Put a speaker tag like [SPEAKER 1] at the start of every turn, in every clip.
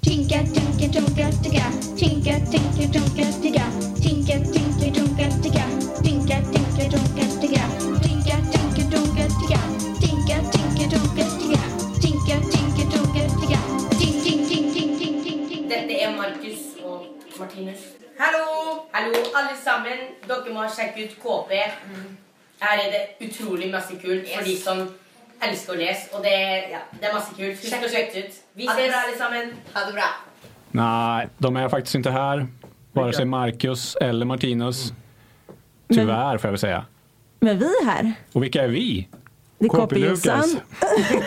[SPEAKER 1] Tinka, tinka, tunka, ticka. Tinka, tinka, tunka, ticka. Tinka, tinka, tunka, ticka. Tinka, tinka, tunka, ticka. Tinka, tinka, tunka, ticka. Tinka, tinka, tunka, ticka. Tinka, tinka, tunka, ticka. Tink, tink, tink, tink, tink, tink, tink.
[SPEAKER 2] Dette er Markus og Martinus. Hallo! Hallo, alle sammen. Dere må sjekke ut KP. Her er det utrolig masse kult for de som elsker å lese. Og det, ja, det er masse kult. Husk å sjekke det ut. Vi
[SPEAKER 3] Ha det
[SPEAKER 2] ses,
[SPEAKER 3] bra.
[SPEAKER 2] alle sammen.
[SPEAKER 3] Ha det bra.
[SPEAKER 4] Nej, de är faktiskt inte här. Vare sig Marcus eller Martinus.
[SPEAKER 5] Mm.
[SPEAKER 4] Tyvärr får jag väl säga.
[SPEAKER 5] Men vi är här.
[SPEAKER 4] Och vilka är vi?
[SPEAKER 5] Det är
[SPEAKER 4] KP
[SPEAKER 5] KP-Jossan.
[SPEAKER 4] Lukas.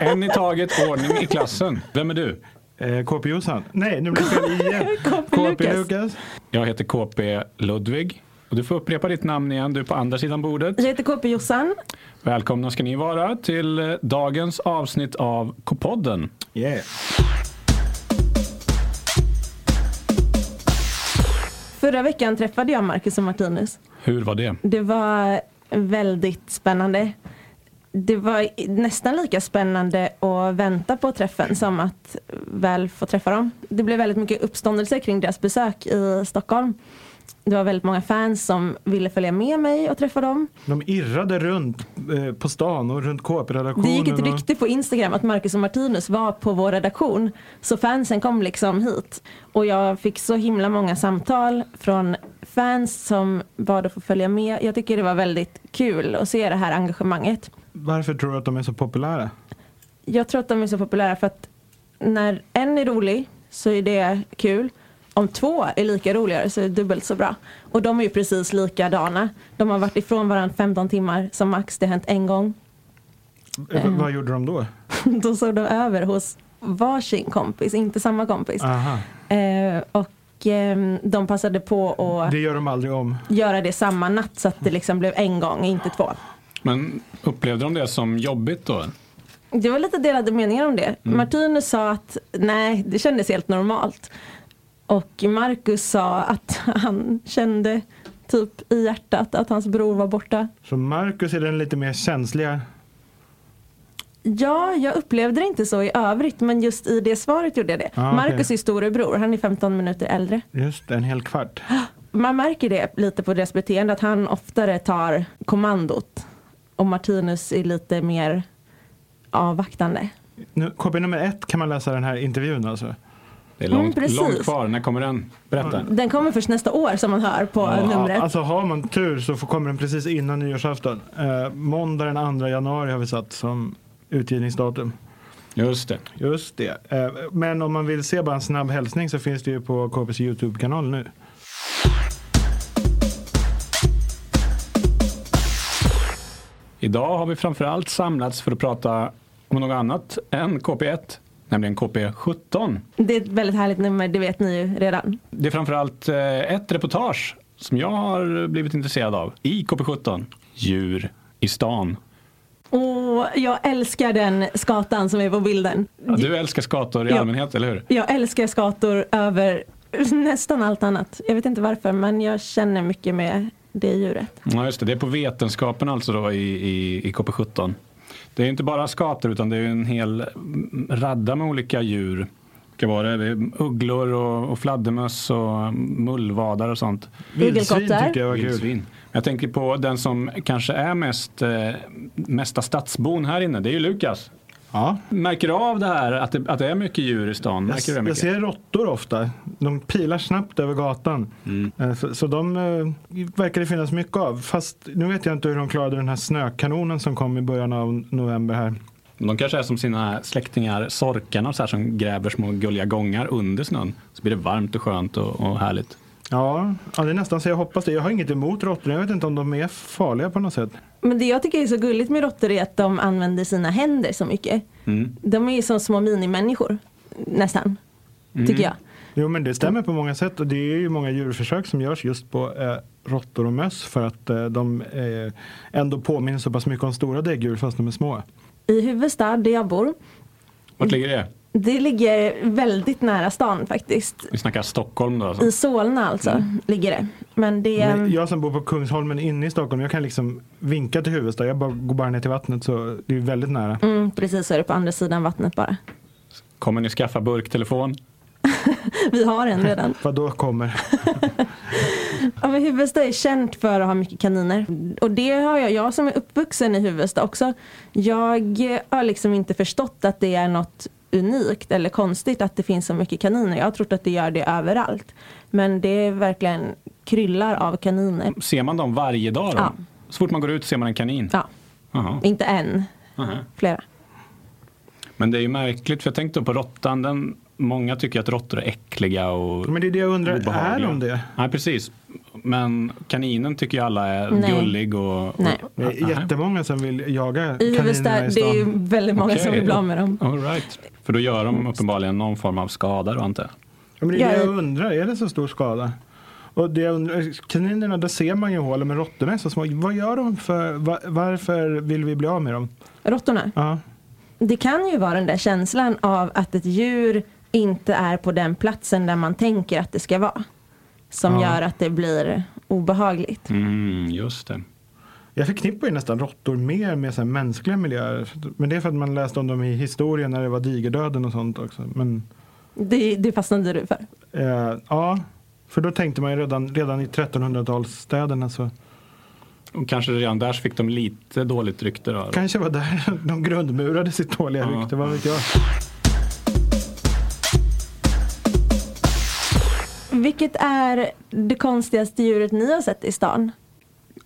[SPEAKER 4] En i taget, ordning i klassen. Vem är du?
[SPEAKER 6] Eh, KP Jossan. Nej, nu blev det fel igen.
[SPEAKER 5] KP
[SPEAKER 6] KP
[SPEAKER 5] Lukas.
[SPEAKER 6] Lukas.
[SPEAKER 4] Jag heter KP Ludvig. Och du får upprepa ditt namn igen, du är på andra sidan bordet.
[SPEAKER 5] Jag heter KP-Jossan.
[SPEAKER 4] Välkomna ska ni vara till eh, dagens avsnitt av K-podden.
[SPEAKER 6] Yeah.
[SPEAKER 5] Förra veckan träffade jag Marcus och Martinus.
[SPEAKER 4] Hur var det?
[SPEAKER 5] Det var väldigt spännande. Det var i- nästan lika spännande att vänta på träffen som att väl få träffa dem. Det blev väldigt mycket uppståndelse kring deras besök i Stockholm. Det var väldigt många fans som ville följa med mig och träffa dem.
[SPEAKER 6] De irrade runt eh, på stan och runt
[SPEAKER 5] Det
[SPEAKER 6] KP-redaktionen.
[SPEAKER 5] gick ett
[SPEAKER 6] och-
[SPEAKER 5] rykte på Instagram att Marcus och Martinus var på vår redaktion. Så fansen kom liksom hit. Och jag fick så himla många samtal från fans som bad att få följa med. Jag tycker det var väldigt kul att se det här engagemanget.
[SPEAKER 6] Varför tror du att de är så populära?
[SPEAKER 5] Jag tror att de är så populära för att när en är rolig så är det kul. Om två är lika roliga så är det dubbelt så bra. Och de är ju precis likadana. De har varit ifrån varandra 15 timmar som max. Det har hänt en gång.
[SPEAKER 6] Eh,
[SPEAKER 5] Mm.
[SPEAKER 6] Vad gjorde de då?
[SPEAKER 5] Då såg de över hos varsin kompis, inte samma kompis.
[SPEAKER 6] Aha.
[SPEAKER 5] Eh, och ehm, de passade på att
[SPEAKER 6] Det gör de aldrig om.
[SPEAKER 5] göra det samma natt så att det liksom blev en gång, inte två.
[SPEAKER 4] Men upplevde de det som jobbigt då?
[SPEAKER 5] Det var lite delade meningar om det.
[SPEAKER 6] Mm.
[SPEAKER 5] Martinus sa att nej, det kändes helt normalt. Och Marcus sa att han kände typ i hjärtat att hans bror var borta.
[SPEAKER 6] Så Marcus är den lite mer känsliga.
[SPEAKER 5] Ja, jag upplevde det inte så i övrigt men just i det svaret gjorde jag det.
[SPEAKER 6] Ah, okej.
[SPEAKER 5] Marcus är storebror, han är 15 minuter äldre.
[SPEAKER 6] Just det, en hel kvart.
[SPEAKER 5] Man märker det lite på deras beteende att han oftare tar kommandot och Martinus är lite mer avvaktande.
[SPEAKER 6] Nu, KP nummer ett kan man läsa den här intervjun alltså.
[SPEAKER 4] Det är
[SPEAKER 5] Mm,
[SPEAKER 4] långt,
[SPEAKER 5] precis. Mm.
[SPEAKER 4] långt kvar. När kommer den? Berätta.
[SPEAKER 5] Den kommer först nästa år som man hör på numret.
[SPEAKER 6] Alltså har man tur så får, kommer den precis innan nyårsafton. Eh, måndag den 2 januari har vi satt som utgivningsdatum.
[SPEAKER 4] Just det.
[SPEAKER 6] Just det. Eh, Men om man vill se bara en snabb hälsning så finns det ju på KPs YouTube-kanal nu.
[SPEAKER 4] Idag har vi framförallt samlats för att prata om något annat än KP1, nämligen KP17.
[SPEAKER 5] Det är ett väldigt härligt nummer, det vet ni ju redan.
[SPEAKER 4] Det är framförallt eh, ett reportage som jag har blivit intresserad av i KP17. Djur i stan.
[SPEAKER 5] Och jag älskar den skatan som är på bilden.
[SPEAKER 4] Ja, Du älskar skator i
[SPEAKER 5] Ja.
[SPEAKER 4] allmänhet, eller hur?
[SPEAKER 5] Jag älskar skator över nästan allt annat. Jag vet inte varför men jag känner mycket med det djuret.
[SPEAKER 4] Ja, just det. Det är på vetenskapen alltså då i, i, i KP17. Det är inte bara skator utan det är ju en hel mm, radda med olika djur. Vilka var det? Det är Ugglor och, och fladdermöss och mullvadar och sånt.
[SPEAKER 6] Vildsvin
[SPEAKER 5] Igelkottar.
[SPEAKER 6] tycker jag var kul.
[SPEAKER 4] Vildsvin. Jag tänker på den som kanske är mest, eh, mesta stadsbon här inne. Det är ju Lukas.
[SPEAKER 6] Ja.
[SPEAKER 4] Märker du av det här att det, att det är mycket djur i stan?
[SPEAKER 6] Jag,
[SPEAKER 4] Märker du det
[SPEAKER 6] jag
[SPEAKER 4] mycket?
[SPEAKER 6] ser råttor ofta. De pilar snabbt över gatan.
[SPEAKER 4] Mm.
[SPEAKER 6] Eh, Så, så de eh, verkar det finnas mycket av. Fast nu vet jag inte hur de klarade den här snökanonen som kom i början av november här.
[SPEAKER 4] De kanske är som sina släktingar sorkarna och så här, som gräver små gulliga gångar under snön. Så blir det varmt och skönt och, och härligt.
[SPEAKER 6] Ja, ja, det är nästan så jag hoppas det. Jag har inget emot råttor. Jag vet inte om de är farliga på något sätt.
[SPEAKER 5] Men det jag tycker är så gulligt med råttor är att de använder sina händer så mycket. De är ju som små minimänniskor. Nästan. Tycker jag.
[SPEAKER 6] Jo, men det stämmer på många sätt och det är ju många djurförsök som görs just på eh, råttor och möss för att eh, de eh, ändå påminner så pass mycket om stora däggdjur fast de är små.
[SPEAKER 5] I Huvudstad där jag bor.
[SPEAKER 4] Vart ligger det?
[SPEAKER 5] Det ligger väldigt nära stan faktiskt.
[SPEAKER 4] Vi snackar Stockholm då alltså.
[SPEAKER 5] I Solna alltså ligger det. Men det är...
[SPEAKER 6] Men jag som bor på Kungsholmen inne i Stockholm, jag kan liksom vinka till Huvudstad. Jag bara, går bara ner till vattnet så det är väldigt nära.
[SPEAKER 5] Mm, precis så är det på andra sidan vattnet bara.
[SPEAKER 4] Kommer ni skaffa burktelefon?
[SPEAKER 5] Vi har en redan.
[SPEAKER 6] Vad då kommer?
[SPEAKER 5] Ja, men Huvudsta är känt för att ha mycket kaniner. Och det har jag, jag som är uppvuxen i Huvudsta också. Jag eh, har liksom inte förstått att det är något unikt eller konstigt att det finns så mycket kaniner. Jag har trott att det gör det överallt. Men det är verkligen kryllar av kaniner.
[SPEAKER 4] Ser man dem varje dag då?
[SPEAKER 5] Ja.
[SPEAKER 4] Så fort man går ut ser man en kanin?
[SPEAKER 5] Ja,
[SPEAKER 4] Jaha.
[SPEAKER 5] inte en,
[SPEAKER 4] Aha.
[SPEAKER 5] flera.
[SPEAKER 4] Men det är ju märkligt, för jag tänkte på råttan. Den, många tycker att råttor är äckliga och
[SPEAKER 6] Men det är det jag undrar, är
[SPEAKER 4] obehagliga.
[SPEAKER 6] de det?
[SPEAKER 4] Nej, precis. Men kaninen tycker ju alla är
[SPEAKER 5] Nej.
[SPEAKER 4] gullig och... och
[SPEAKER 5] Nej.
[SPEAKER 6] Det är jättemånga som vill jaga
[SPEAKER 5] I Huvudsta,
[SPEAKER 6] kaninerna i
[SPEAKER 5] det är ju
[SPEAKER 6] stan.
[SPEAKER 5] väldigt många som
[SPEAKER 4] Okej.
[SPEAKER 5] vill bli av med dem.
[SPEAKER 4] All right. För då gör de uppenbarligen någon form av skada då, antar jag.
[SPEAKER 6] Ja, men det är det
[SPEAKER 5] Ja,
[SPEAKER 6] jag
[SPEAKER 5] jag-
[SPEAKER 6] undrar, är det så stor skada? Och det jag undrar, kaninerna, där ser man ju hålen, men råttorna är så små. Vad gör de för, va- varför vill vi bli av med dem?
[SPEAKER 5] Råttorna.
[SPEAKER 6] Ja.
[SPEAKER 5] Det kan ju vara den där känslan av att ett djur inte är på den platsen där man tänker att det ska vara. Som
[SPEAKER 6] Ja.
[SPEAKER 5] gör att det blir obehagligt.
[SPEAKER 4] Mm, just det.
[SPEAKER 6] Jag förknippar ju nästan råttor mer med så här mänskliga miljöer. Men det är för att man läste om dem i historien när det var digerdöden och sånt också. Men
[SPEAKER 5] Det, det fastnade du för.
[SPEAKER 6] eh, ja, för då tänkte man ju redan, redan i 1300-talsstäderna så
[SPEAKER 4] Och kanske redan där så fick de lite dåligt rykte då.
[SPEAKER 6] kanske var där de grundmurade sitt dåliga
[SPEAKER 4] Ja.
[SPEAKER 6] rykte, vad vet jag.
[SPEAKER 5] Vilket är det konstigaste djuret ni har sett i stan?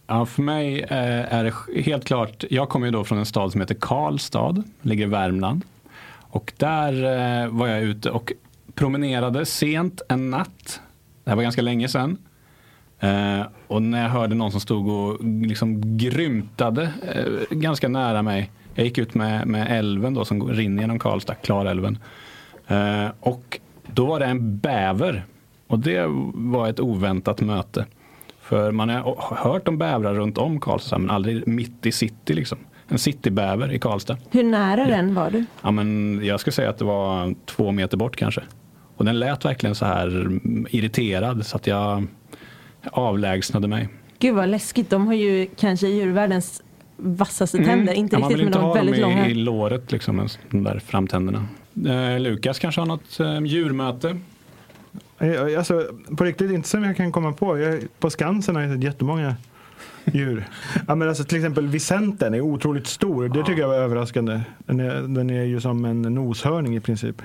[SPEAKER 4] Ja, för mig eh, är det sk- helt klart, jag kommer ju då från en stad som heter Karlstad, ligger i Värmland. Och där eh, var jag ute och promenerade sent en natt, det här var ganska länge sedan. Eh, och när jag hörde någon som stod och liksom grymtade eh, ganska nära mig. Jag gick ut med, med älven då som går- rinner genom Karlstad, Klarälven. Eh, och då var det en bäver. Och det var ett oväntat möte. För man har o- hört om bävrar runt om Karlstad men aldrig mitt i city liksom. En citybäver i Karlstad.
[SPEAKER 5] Hur nära den var du?
[SPEAKER 4] Ja, men jag skulle säga att det var två meter bort kanske. Och den lät verkligen så här mm, irriterad så att jag avlägsnade mig.
[SPEAKER 5] Gud vad läskigt, de har ju kanske djurvärldens vassaste tänder. Inte
[SPEAKER 4] Mm. Ja, man
[SPEAKER 5] riktigt
[SPEAKER 4] vill
[SPEAKER 5] men
[SPEAKER 4] inte
[SPEAKER 5] de
[SPEAKER 4] ha
[SPEAKER 5] är väldigt
[SPEAKER 4] dem
[SPEAKER 5] långa.
[SPEAKER 4] i, i låret, liksom, ens- de där framtänderna. Eh, Lukas kanske har något eh, djurmöte?
[SPEAKER 6] Eh, Alltså, på riktigt, inte som jag kan komma på. Jag, på Skansen har jag sett jättemånga djur. ja, men alltså, till exempel Vicenten är otroligt stor. Det tycker jag var överraskande. Den är, den är ju som en noshörning i princip.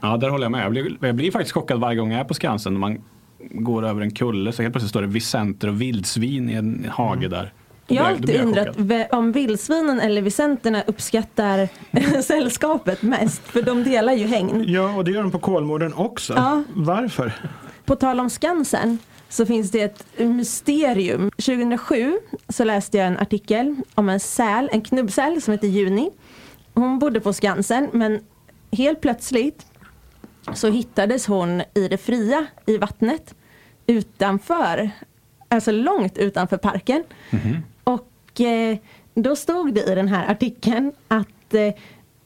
[SPEAKER 4] Ja, där håller jag med. Jag blir, jag blir faktiskt chockad varje gång jag är på Skansen. När man går över en kulle så helt plötsligt står det vicenter och vildsvin i en hage där. Då
[SPEAKER 5] Mm. Jag har
[SPEAKER 4] blir då blir
[SPEAKER 5] alltid undrat
[SPEAKER 4] chockad.
[SPEAKER 5] ve- om vildsvinen eller visenterna uppskattar sällskapet mest. För de delar ju hägn.
[SPEAKER 6] Ja, och det gör de på Kolmården också.
[SPEAKER 5] Ja.
[SPEAKER 6] Varför?
[SPEAKER 5] På tal om Skansen så finns det ett mysterium. 2007 så läste jag en artikel om en säl, en knubbsäl som heter Juni. Hon bodde på Skansen men helt plötsligt så hittades hon i det fria i vattnet utanför, alltså långt utanför parken. Och eh, då stod det i den här artikeln att eh,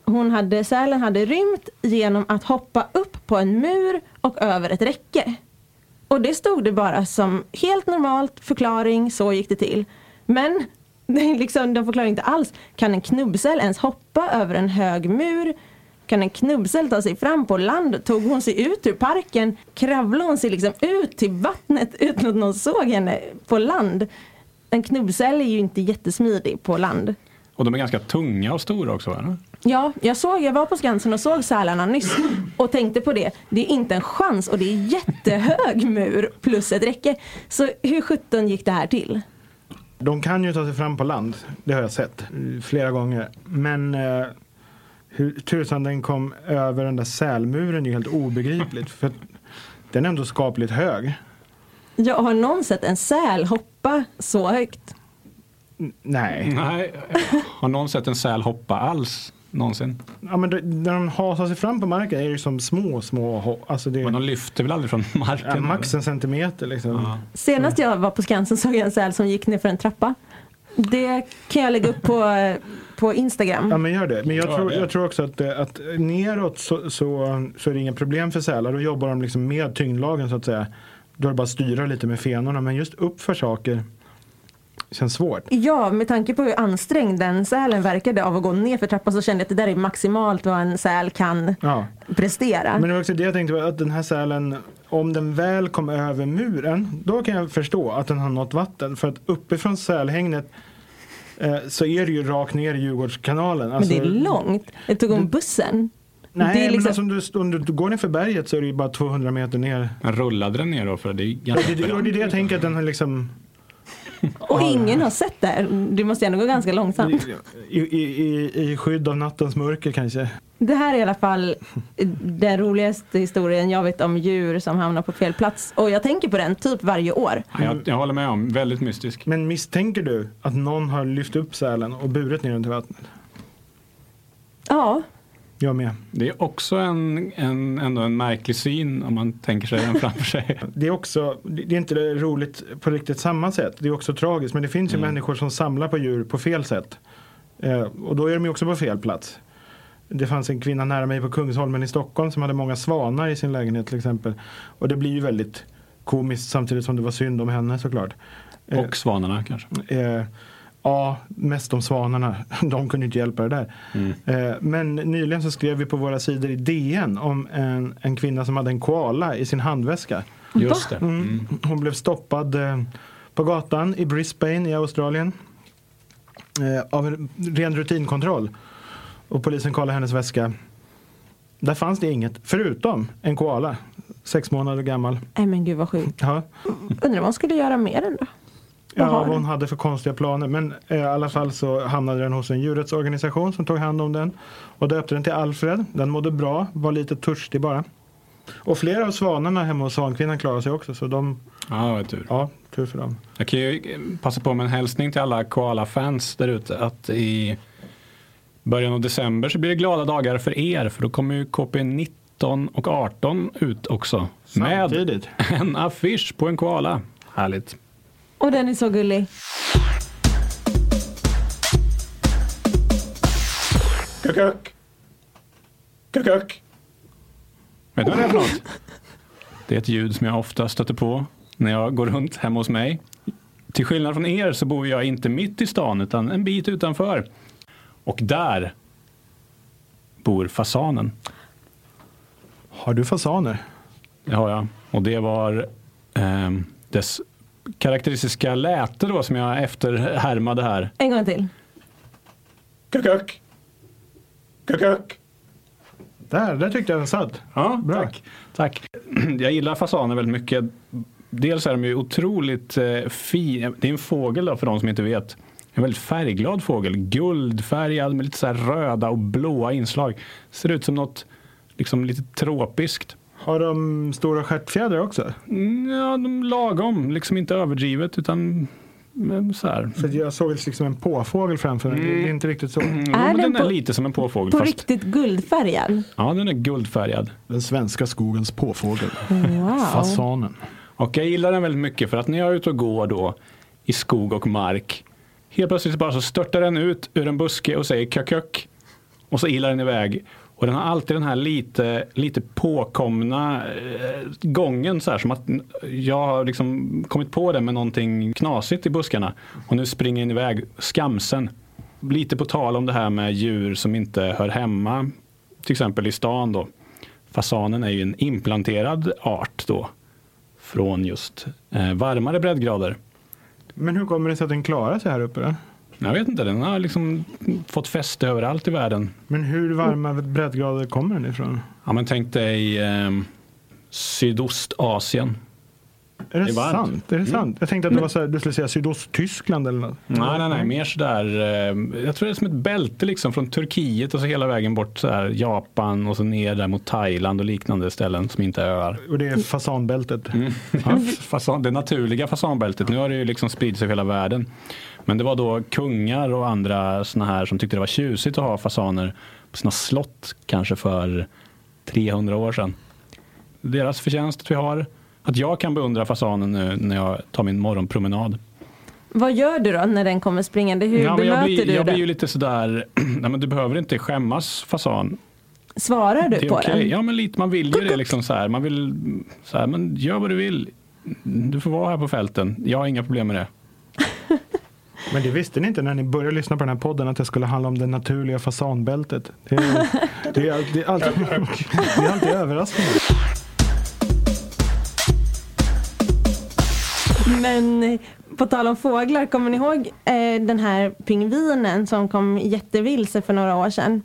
[SPEAKER 5] hon hade, sälen hade rymt genom att hoppa upp på en mur och över ett räcke. Och det stod det bara som helt normalt förklaring, så gick det till. Men det är liksom, de förklarar inte alls, kan en knubbsäl ens hoppa över en hög mur? Kan en knubbsäl ta sig fram på land? Tog hon sig ut ur parken? Kravlade hon sig liksom ut till vattnet utan att någon såg henne på land? En knubbsäl är ju inte jättesmidig på land.
[SPEAKER 4] Och de är ganska tunga och stora också. Va?
[SPEAKER 5] Ja, jag, såg, jag var på Skansen och såg sälarna nyss och tänkte på det. Det är inte en chans och det är jättehög mur plus ett räcke. Så hur sjutton gick det här till?
[SPEAKER 6] De kan ju ta sig fram på land. Det har jag sett eh, flera gånger. Men eh, hur tusan den kom över den där sälmuren är ju helt obegripligt. För att den är ändå skapligt hög.
[SPEAKER 5] Jag har någon sett en säl hoppa så högt?
[SPEAKER 6] N- Nej.
[SPEAKER 4] Nej, har någon sett en säl hoppa alls någonsin?
[SPEAKER 6] Ja, men det- när de hasar sig fram på marken är det ju som små, små ho- alltså det
[SPEAKER 4] Men de
[SPEAKER 6] är,
[SPEAKER 4] lyfter väl aldrig från marken?
[SPEAKER 6] ja, max
[SPEAKER 4] eller?
[SPEAKER 6] en centimeter liksom.
[SPEAKER 4] Ja.
[SPEAKER 5] Senast jag var på Skansen såg jag en säl som gick ner för en trappa. Det kan jag lägga upp på, på
[SPEAKER 6] Ja
[SPEAKER 5] Instagram.
[SPEAKER 6] men gör det. Men jag
[SPEAKER 4] Gör
[SPEAKER 6] tror,
[SPEAKER 4] det.
[SPEAKER 6] jag tror också att, eh, att neråt så, så, så är det inga problem för sälar. Då jobbar de liksom med tyngdlagen så att säga. Då är det bara att styra lite med fenorna. Men just uppför saker känns svårt.
[SPEAKER 5] Ja, med tanke på hur ansträngd den sälen verkade av att gå ner för trappan så kände jag att det där är maximalt vad en säl kan
[SPEAKER 6] Ja.
[SPEAKER 5] prestera.
[SPEAKER 6] Men det var också det jag tänkte, var att den här sälen, om den väl kom över muren, då kan jag förstå att den har nått vatten. För att uppifrån sälhägnet eh, så är det ju rakt ner i Djurgårdskanalen.
[SPEAKER 5] Men
[SPEAKER 6] Alltså-
[SPEAKER 5] det är långt. Jag tog om bussen.
[SPEAKER 6] Nej,
[SPEAKER 5] det är
[SPEAKER 6] men
[SPEAKER 5] liksom-
[SPEAKER 6] alltså, om, du, om du går ner för berget så är det ju bara 200 meter ner.
[SPEAKER 4] Men rullade den ner då? För det är
[SPEAKER 6] Det,
[SPEAKER 4] ganska
[SPEAKER 6] det, och det är det jag tänker att den har liksom...
[SPEAKER 5] Och ingen har sett det här. Det måste ändå gå ganska långsamt.
[SPEAKER 6] I, i, i, I skydd av nattens mörker kanske.
[SPEAKER 5] Det här är i alla fall eh, den roligaste historien jag vet om djur som hamnar på fel plats. Och jag tänker på den typ varje år.
[SPEAKER 4] Ja, Jag, jag håller med om, väldigt mystisk.
[SPEAKER 6] Men misstänker du att någon har lyft upp sälen och burit ner den till vattnet?
[SPEAKER 5] Ja,
[SPEAKER 6] Jag med.
[SPEAKER 4] Det är också en, en, ändå en märklig syn om man tänker sig den framför sig.
[SPEAKER 6] Det är också, det det är inte roligt på riktigt samma sätt. Det är också tragiskt. Men det finns ju människor som samlar på djur på fel sätt. Eh, och då är de ju också på fel plats. Det fanns en kvinna nära mig på Kungsholmen i Stockholm som hade många svanar i sin lägenhet till exempel. Och det blir ju väldigt komiskt samtidigt som det var synd om henne såklart. Eh,
[SPEAKER 4] Och svanarna kanske.
[SPEAKER 6] Eh, ja, mest om svanarna. De kunde inte hjälpa det där. Eh, men nyligen så skrev vi på våra sidor i DN om en, en kvinna som hade en koala i sin handväska.
[SPEAKER 4] Just det.
[SPEAKER 6] Mm. Hon blev stoppad eh, på gatan i Brisbane i Australien eh, av en ren rutinkontroll. Och polisen kollade hennes väska. Där fanns det inget, förutom en koala. Sex månader gammal.
[SPEAKER 5] nej men gud vad sjukt.
[SPEAKER 6] Ja.
[SPEAKER 5] Undrar vad man skulle göra med den då?
[SPEAKER 6] Ja,
[SPEAKER 5] Vad har
[SPEAKER 6] vad
[SPEAKER 5] den?
[SPEAKER 6] hon hade för konstiga planer. Men eh, i alla fall så hamnade den hos en djurrättsorganisation som tog hand om den. Och döpte den till Alfred. Den mådde bra, var lite törstig bara. Och flera av svanarna hemma hos sankvinnan klarade sig också. Så de,
[SPEAKER 4] Ja, vad tur.
[SPEAKER 6] ja, tur för dem.
[SPEAKER 4] Jag kan ju passa på med en hälsning till alla koala-fans där ute att i början av december så blir det glada dagar för er för då kommer ju KP 19 och 18 ut också. Med
[SPEAKER 6] Samtidigt.
[SPEAKER 4] en affisch på en koala. Härligt.
[SPEAKER 5] Och den är så gullig.
[SPEAKER 4] Kukuk. Kukuk. Vet du vad det är för något? Det är ett ljud som jag ofta stöter på när jag går runt hemma hos mig. Till skillnad från er så bor jag inte mitt i stan utan en bit utanför. Och där bor fasanen.
[SPEAKER 6] Har du fasaner?
[SPEAKER 4] Det har jag. Och det var ehm, dess karaktäristiska läte då som jag efterhärmade här.
[SPEAKER 5] En gång till.
[SPEAKER 4] Kukuk. Kukuk.
[SPEAKER 6] Där, där tyckte jag den satt.
[SPEAKER 4] Ja,
[SPEAKER 6] Bra.
[SPEAKER 4] Tack. tack. Jag gillar fasaner väldigt mycket. Dels är de ju otroligt eh, fina. Det är en fågel då, för de som inte vet. En väldigt färgglad fågel. Guldfärgad med lite så här röda och blåa inslag. Ser ut som något liksom lite tropiskt.
[SPEAKER 6] Har de stora stjärtfjädrar också?
[SPEAKER 4] Mm, Ja, de lagom, liksom inte överdrivet utan men så här.
[SPEAKER 6] För jag såg liksom en påfågel framför
[SPEAKER 4] Mm.
[SPEAKER 6] mig. Det är inte riktigt så.
[SPEAKER 4] Jo, Mm, men
[SPEAKER 5] den
[SPEAKER 4] den är
[SPEAKER 5] på-
[SPEAKER 4] lite som en påfågel.
[SPEAKER 5] På
[SPEAKER 4] Fast,
[SPEAKER 5] riktigt guldfärgad.
[SPEAKER 4] ja, den är guldfärgad.
[SPEAKER 6] Den svenska skogens påfågel.
[SPEAKER 5] Wow.
[SPEAKER 6] Fasanen.
[SPEAKER 4] Och jag gillar den väldigt mycket för att när jag är ute och går då i skog och mark. Helt plötsligt bara så störtar den ut ur en buske och säger kökök. Och så ilar den iväg. Och den har alltid den här lite, lite påkomna eh, gången så här som att n- jag har liksom kommit på det med någonting knasigt i buskarna. Och nu springer den iväg skamsen. Lite på tal om det här med djur som inte hör hemma till exempel i stan då. Fasanen är ju en implanterad art då från just eh, varmare breddgrader.
[SPEAKER 6] Men hur kommer det sig att den klarar sig här uppe då?
[SPEAKER 4] Jag vet inte, den har liksom fått fäste överallt i världen.
[SPEAKER 6] Men hur varma breddgrader kommer den ifrån?
[SPEAKER 4] Ja, men tänk dig eh, Sydostasien.
[SPEAKER 6] Är det,
[SPEAKER 4] Det är varmt. Mm.
[SPEAKER 6] sant? Är det sant? Jag tänkte att det var så här, du skulle säga Sydosttyskland eller något.
[SPEAKER 4] Nej, nej, nej, mer sådär. Eh, jag tror det är som ett bälte liksom från Turkiet och så hela vägen bort så här Japan och så ner där mot Thailand och liknande ställen som inte är öar.
[SPEAKER 6] Och det är fasanbältet.
[SPEAKER 4] Mm. Ja, fasan, det naturliga fasanbältet. Nu har det ju liksom spridit sig över hela världen. Men det var då kungar och andra såna här som tyckte det var tjusigt att ha fasaner på sina slott kanske för 300 år sedan. Deras förtjänst att vi har, att jag kan beundra fasanen nu när jag tar min morgonpromenad.
[SPEAKER 5] Vad gör du då när den kommer springande? Hur
[SPEAKER 4] Ja, men jag
[SPEAKER 5] bemöter
[SPEAKER 4] blir,
[SPEAKER 5] du
[SPEAKER 4] jag blir
[SPEAKER 5] den?
[SPEAKER 4] ju lite sådär, nej men du behöver inte skämmas fasan.
[SPEAKER 5] Svarar du
[SPEAKER 4] Det är
[SPEAKER 5] på
[SPEAKER 4] okej.
[SPEAKER 5] den?
[SPEAKER 4] Ja, men lite, man vill ju det liksom så här. Man vill så här, men gör vad du vill. Du får vara här på fälten. Jag har inga problem med det.
[SPEAKER 6] Men det visste ni inte när ni började lyssna på den här podden att det skulle handla om det naturliga fasanbältet. Det är, det är, all- det är, alltid, det är alltid överraskande.
[SPEAKER 5] Men eh, på tal om fåglar, kommer ni ihåg eh, den här pingvinen som kom jättevilse för några år sedan?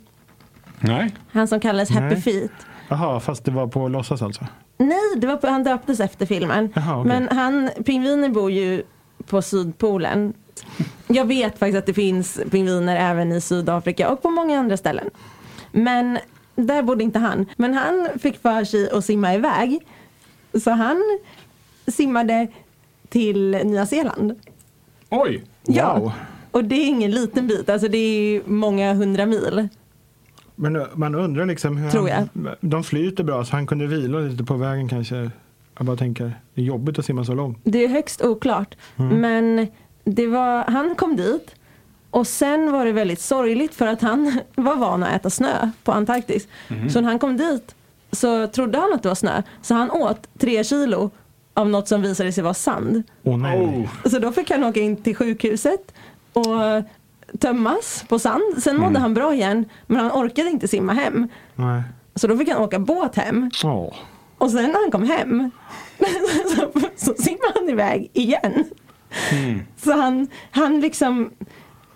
[SPEAKER 4] Nej.
[SPEAKER 5] Han som kallades Happy
[SPEAKER 6] Nej.
[SPEAKER 5] Feet.
[SPEAKER 6] Jaha, fast det var på låtsas alltså?
[SPEAKER 5] Nej, det var på, han döptes efter filmen.
[SPEAKER 6] Jaha, okej.
[SPEAKER 5] Men han, pingviner bor ju på Sydpolen. Jag vet faktiskt att det finns pingviner även i Sydafrika och på många andra ställen. Men där bodde inte han. Men han fick för sig att simma iväg. Så han simmade till Nya Zeeland.
[SPEAKER 4] Oj!
[SPEAKER 6] Wow.
[SPEAKER 5] Och det är ingen liten bit, alltså det är ju många hundra mil.
[SPEAKER 6] Men eh, man undrar liksom hur
[SPEAKER 5] Tror
[SPEAKER 6] han, De flyter bra så han kunde vila lite på vägen kanske. Jag bara tänker, det är jobbigt att simma så långt.
[SPEAKER 5] Det är högst oklart. Men det var, han kom dit och sen var det väldigt sorgligt för att han var van att äta snö på Antarktis. Så när han kom dit så trodde han att det var snö. Så han åt tre kilo av något som visade sig vara sand.
[SPEAKER 6] Åh nej.
[SPEAKER 4] Oh.
[SPEAKER 5] Så då fick han åka in till sjukhuset och tömmas på sand. Sen mådde han bra igen men han orkade inte simma hem.
[SPEAKER 6] Nej.
[SPEAKER 5] Så då fick han åka båt hem.
[SPEAKER 6] Åh.
[SPEAKER 5] Och sen när han kom hem så, så simmade han iväg igen.
[SPEAKER 6] Mm.
[SPEAKER 5] Så han, han liksom,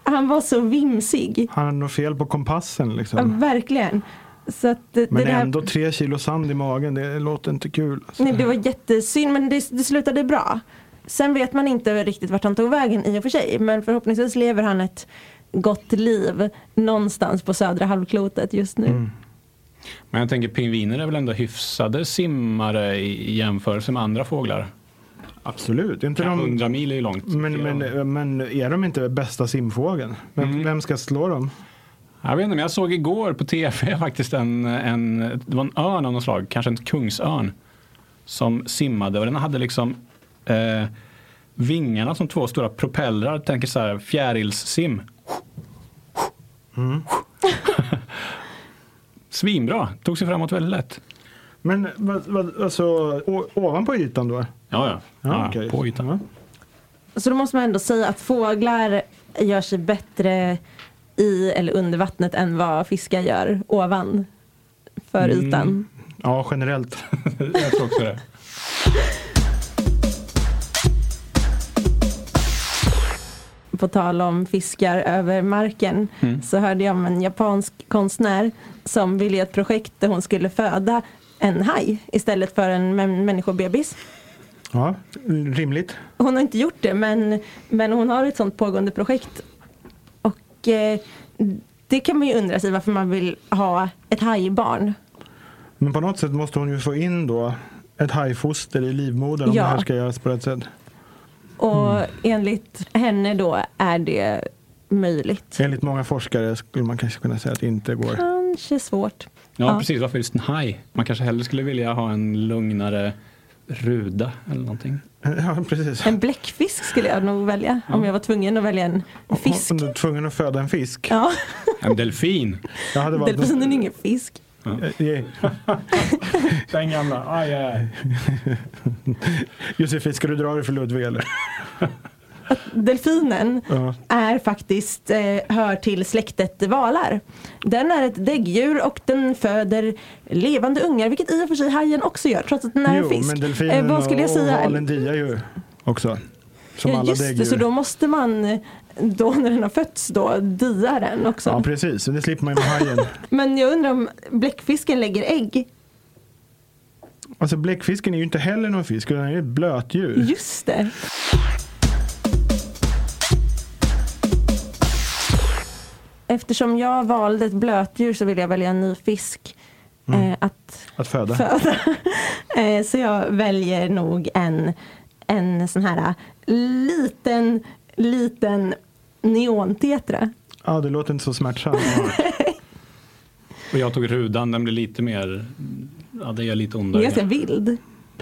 [SPEAKER 5] han var så vimsig.
[SPEAKER 6] Han hade nog fel på kompassen liksom.
[SPEAKER 5] Ja, Verkligen. Så att det,
[SPEAKER 6] Men
[SPEAKER 5] det där,
[SPEAKER 6] ändå tre kilo sand i magen, det låter inte kul. Alltså.
[SPEAKER 5] nej, det var jättesynd men det, det slutade bra. Sen vet man inte riktigt vart han tog vägen i och för sig. Men förhoppningsvis lever han ett gott liv någonstans på södra halvklotet just
[SPEAKER 6] Mm.
[SPEAKER 5] nu.
[SPEAKER 4] Men jag tänker pingviner är väl ändå hyfsade simmare i i jämförelse med andra fåglar?
[SPEAKER 6] Absolut. Inte de...
[SPEAKER 4] 100 mil är ju långt.
[SPEAKER 6] men,
[SPEAKER 4] tycker jag. Mm.
[SPEAKER 6] men, men är de inte bästa simfågeln? Vem, vem ska slå dem?
[SPEAKER 4] Jag vet inte, men jag såg igår på tv faktiskt en, en, det var en örn av något slag, kanske en kungsörn, som simmade och den hade liksom eh, vingarna som två stora propellrar, tänker så här fjärilssim.
[SPEAKER 6] Mm.
[SPEAKER 4] Svinbra, tog sig framåt väldigt lätt.
[SPEAKER 6] Men vad, vad, alltså, o- ovanpå ytan då?
[SPEAKER 4] Ja, ja. ja
[SPEAKER 6] okej.
[SPEAKER 4] På ytan.
[SPEAKER 6] Ja.
[SPEAKER 5] Så då måste man ändå säga att fåglar gör sig bättre i eller under vattnet än vad fiskar gör ovan för ytan.
[SPEAKER 6] Ja, generellt.
[SPEAKER 4] jag tror också det.
[SPEAKER 5] På tal om fiskar över marken så hörde jag om en japansk konstnär som ville göra ett projekt där hon skulle föda en haj istället för en mä- människobebis.
[SPEAKER 6] Ja, rimligt.
[SPEAKER 5] Hon har inte gjort det men, men hon har ett sånt pågående projekt. Och eh, det kan man ju undra sig varför man vill ha ett hajbarn.
[SPEAKER 6] Men på något sätt måste hon ju få in då ett hajfoster i livmodern om
[SPEAKER 5] Ja.
[SPEAKER 6] det här ska göras på rätt sätt.
[SPEAKER 5] Och
[SPEAKER 6] Mm.
[SPEAKER 5] enligt henne då är det möjligt.
[SPEAKER 6] Enligt många forskare skulle man kanske kunna säga att det inte går.
[SPEAKER 5] Kanske svårt.
[SPEAKER 4] Ja,
[SPEAKER 5] Ja.
[SPEAKER 4] precis. Varför just en haj? Man kanske hellre skulle vilja ha en lugnare ruda eller någonting.
[SPEAKER 6] Ja, precis.
[SPEAKER 5] En bläckfisk skulle jag nog välja om jag var tvungen att välja en fisk.
[SPEAKER 6] Om du är tvungen att föda en fisk.
[SPEAKER 5] Ja,
[SPEAKER 4] En delfin.
[SPEAKER 6] Jag hade valt en-
[SPEAKER 5] delfinen är ingen fisk.
[SPEAKER 6] Eh,
[SPEAKER 4] Den gamla. Aj, aj.
[SPEAKER 6] Josefin, ska du dra dig för Ludvig eller?
[SPEAKER 5] Delfinen
[SPEAKER 6] Ja.
[SPEAKER 5] är faktiskt, eh, hör till släktet valar. Den är ett däggdjur och den föder levande ungar, vilket i och för sig hajen också gör, trots att den är en
[SPEAKER 6] jo,
[SPEAKER 5] fisk. Eh,
[SPEAKER 6] men delfinen
[SPEAKER 5] vad skulle jag
[SPEAKER 6] och-
[SPEAKER 5] säga?
[SPEAKER 6] och valen diar ju också. Som
[SPEAKER 5] ja,
[SPEAKER 6] alla
[SPEAKER 5] just
[SPEAKER 6] däggdjur.
[SPEAKER 5] det, så då måste man, då när den har fötts, då dia den också.
[SPEAKER 6] Ja, precis. Det slipper man ju med hajen.
[SPEAKER 5] Men jag undrar om bläckfisken lägger ägg?
[SPEAKER 6] Alltså bläckfisken är ju inte heller någon fisk, utan den är ju ett blötdjur.
[SPEAKER 5] Just det. Eftersom jag valde ett blötdjur så vill jag välja en ny fisk
[SPEAKER 6] Mm.
[SPEAKER 5] eh, att
[SPEAKER 6] Att föda.
[SPEAKER 5] föda. eh, så jag väljer nog en, en sån här eh, liten, liten neontetra.
[SPEAKER 6] Ja, det låter inte så smärtsamt.
[SPEAKER 4] Och jag tog rudan, den blir lite mer, ja det gör lite
[SPEAKER 5] Den är
[SPEAKER 4] ondare.
[SPEAKER 5] ganska vild.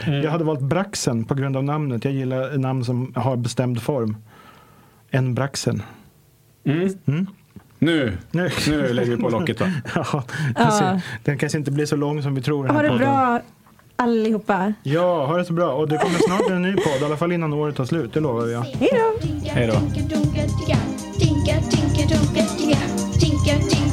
[SPEAKER 6] jag hade valt braxen på grund av namnet. Jag gillar namn som har bestämd form. En braxen.
[SPEAKER 4] Mm. Nu,
[SPEAKER 6] Nu.
[SPEAKER 4] nu lägger vi på locket va?
[SPEAKER 6] Ja,
[SPEAKER 5] Ja.
[SPEAKER 6] Den kanske inte blir så lång som vi tror. den
[SPEAKER 5] Ha
[SPEAKER 6] här
[SPEAKER 5] det
[SPEAKER 6] podden.
[SPEAKER 5] bra. allihopa.
[SPEAKER 6] Ja, ha det så bra. Och det kommer snart en ny podd, i alla fall innan året tar slut. Det lovar jag.
[SPEAKER 5] Hej då!
[SPEAKER 4] Hej då.
[SPEAKER 1] Hej då.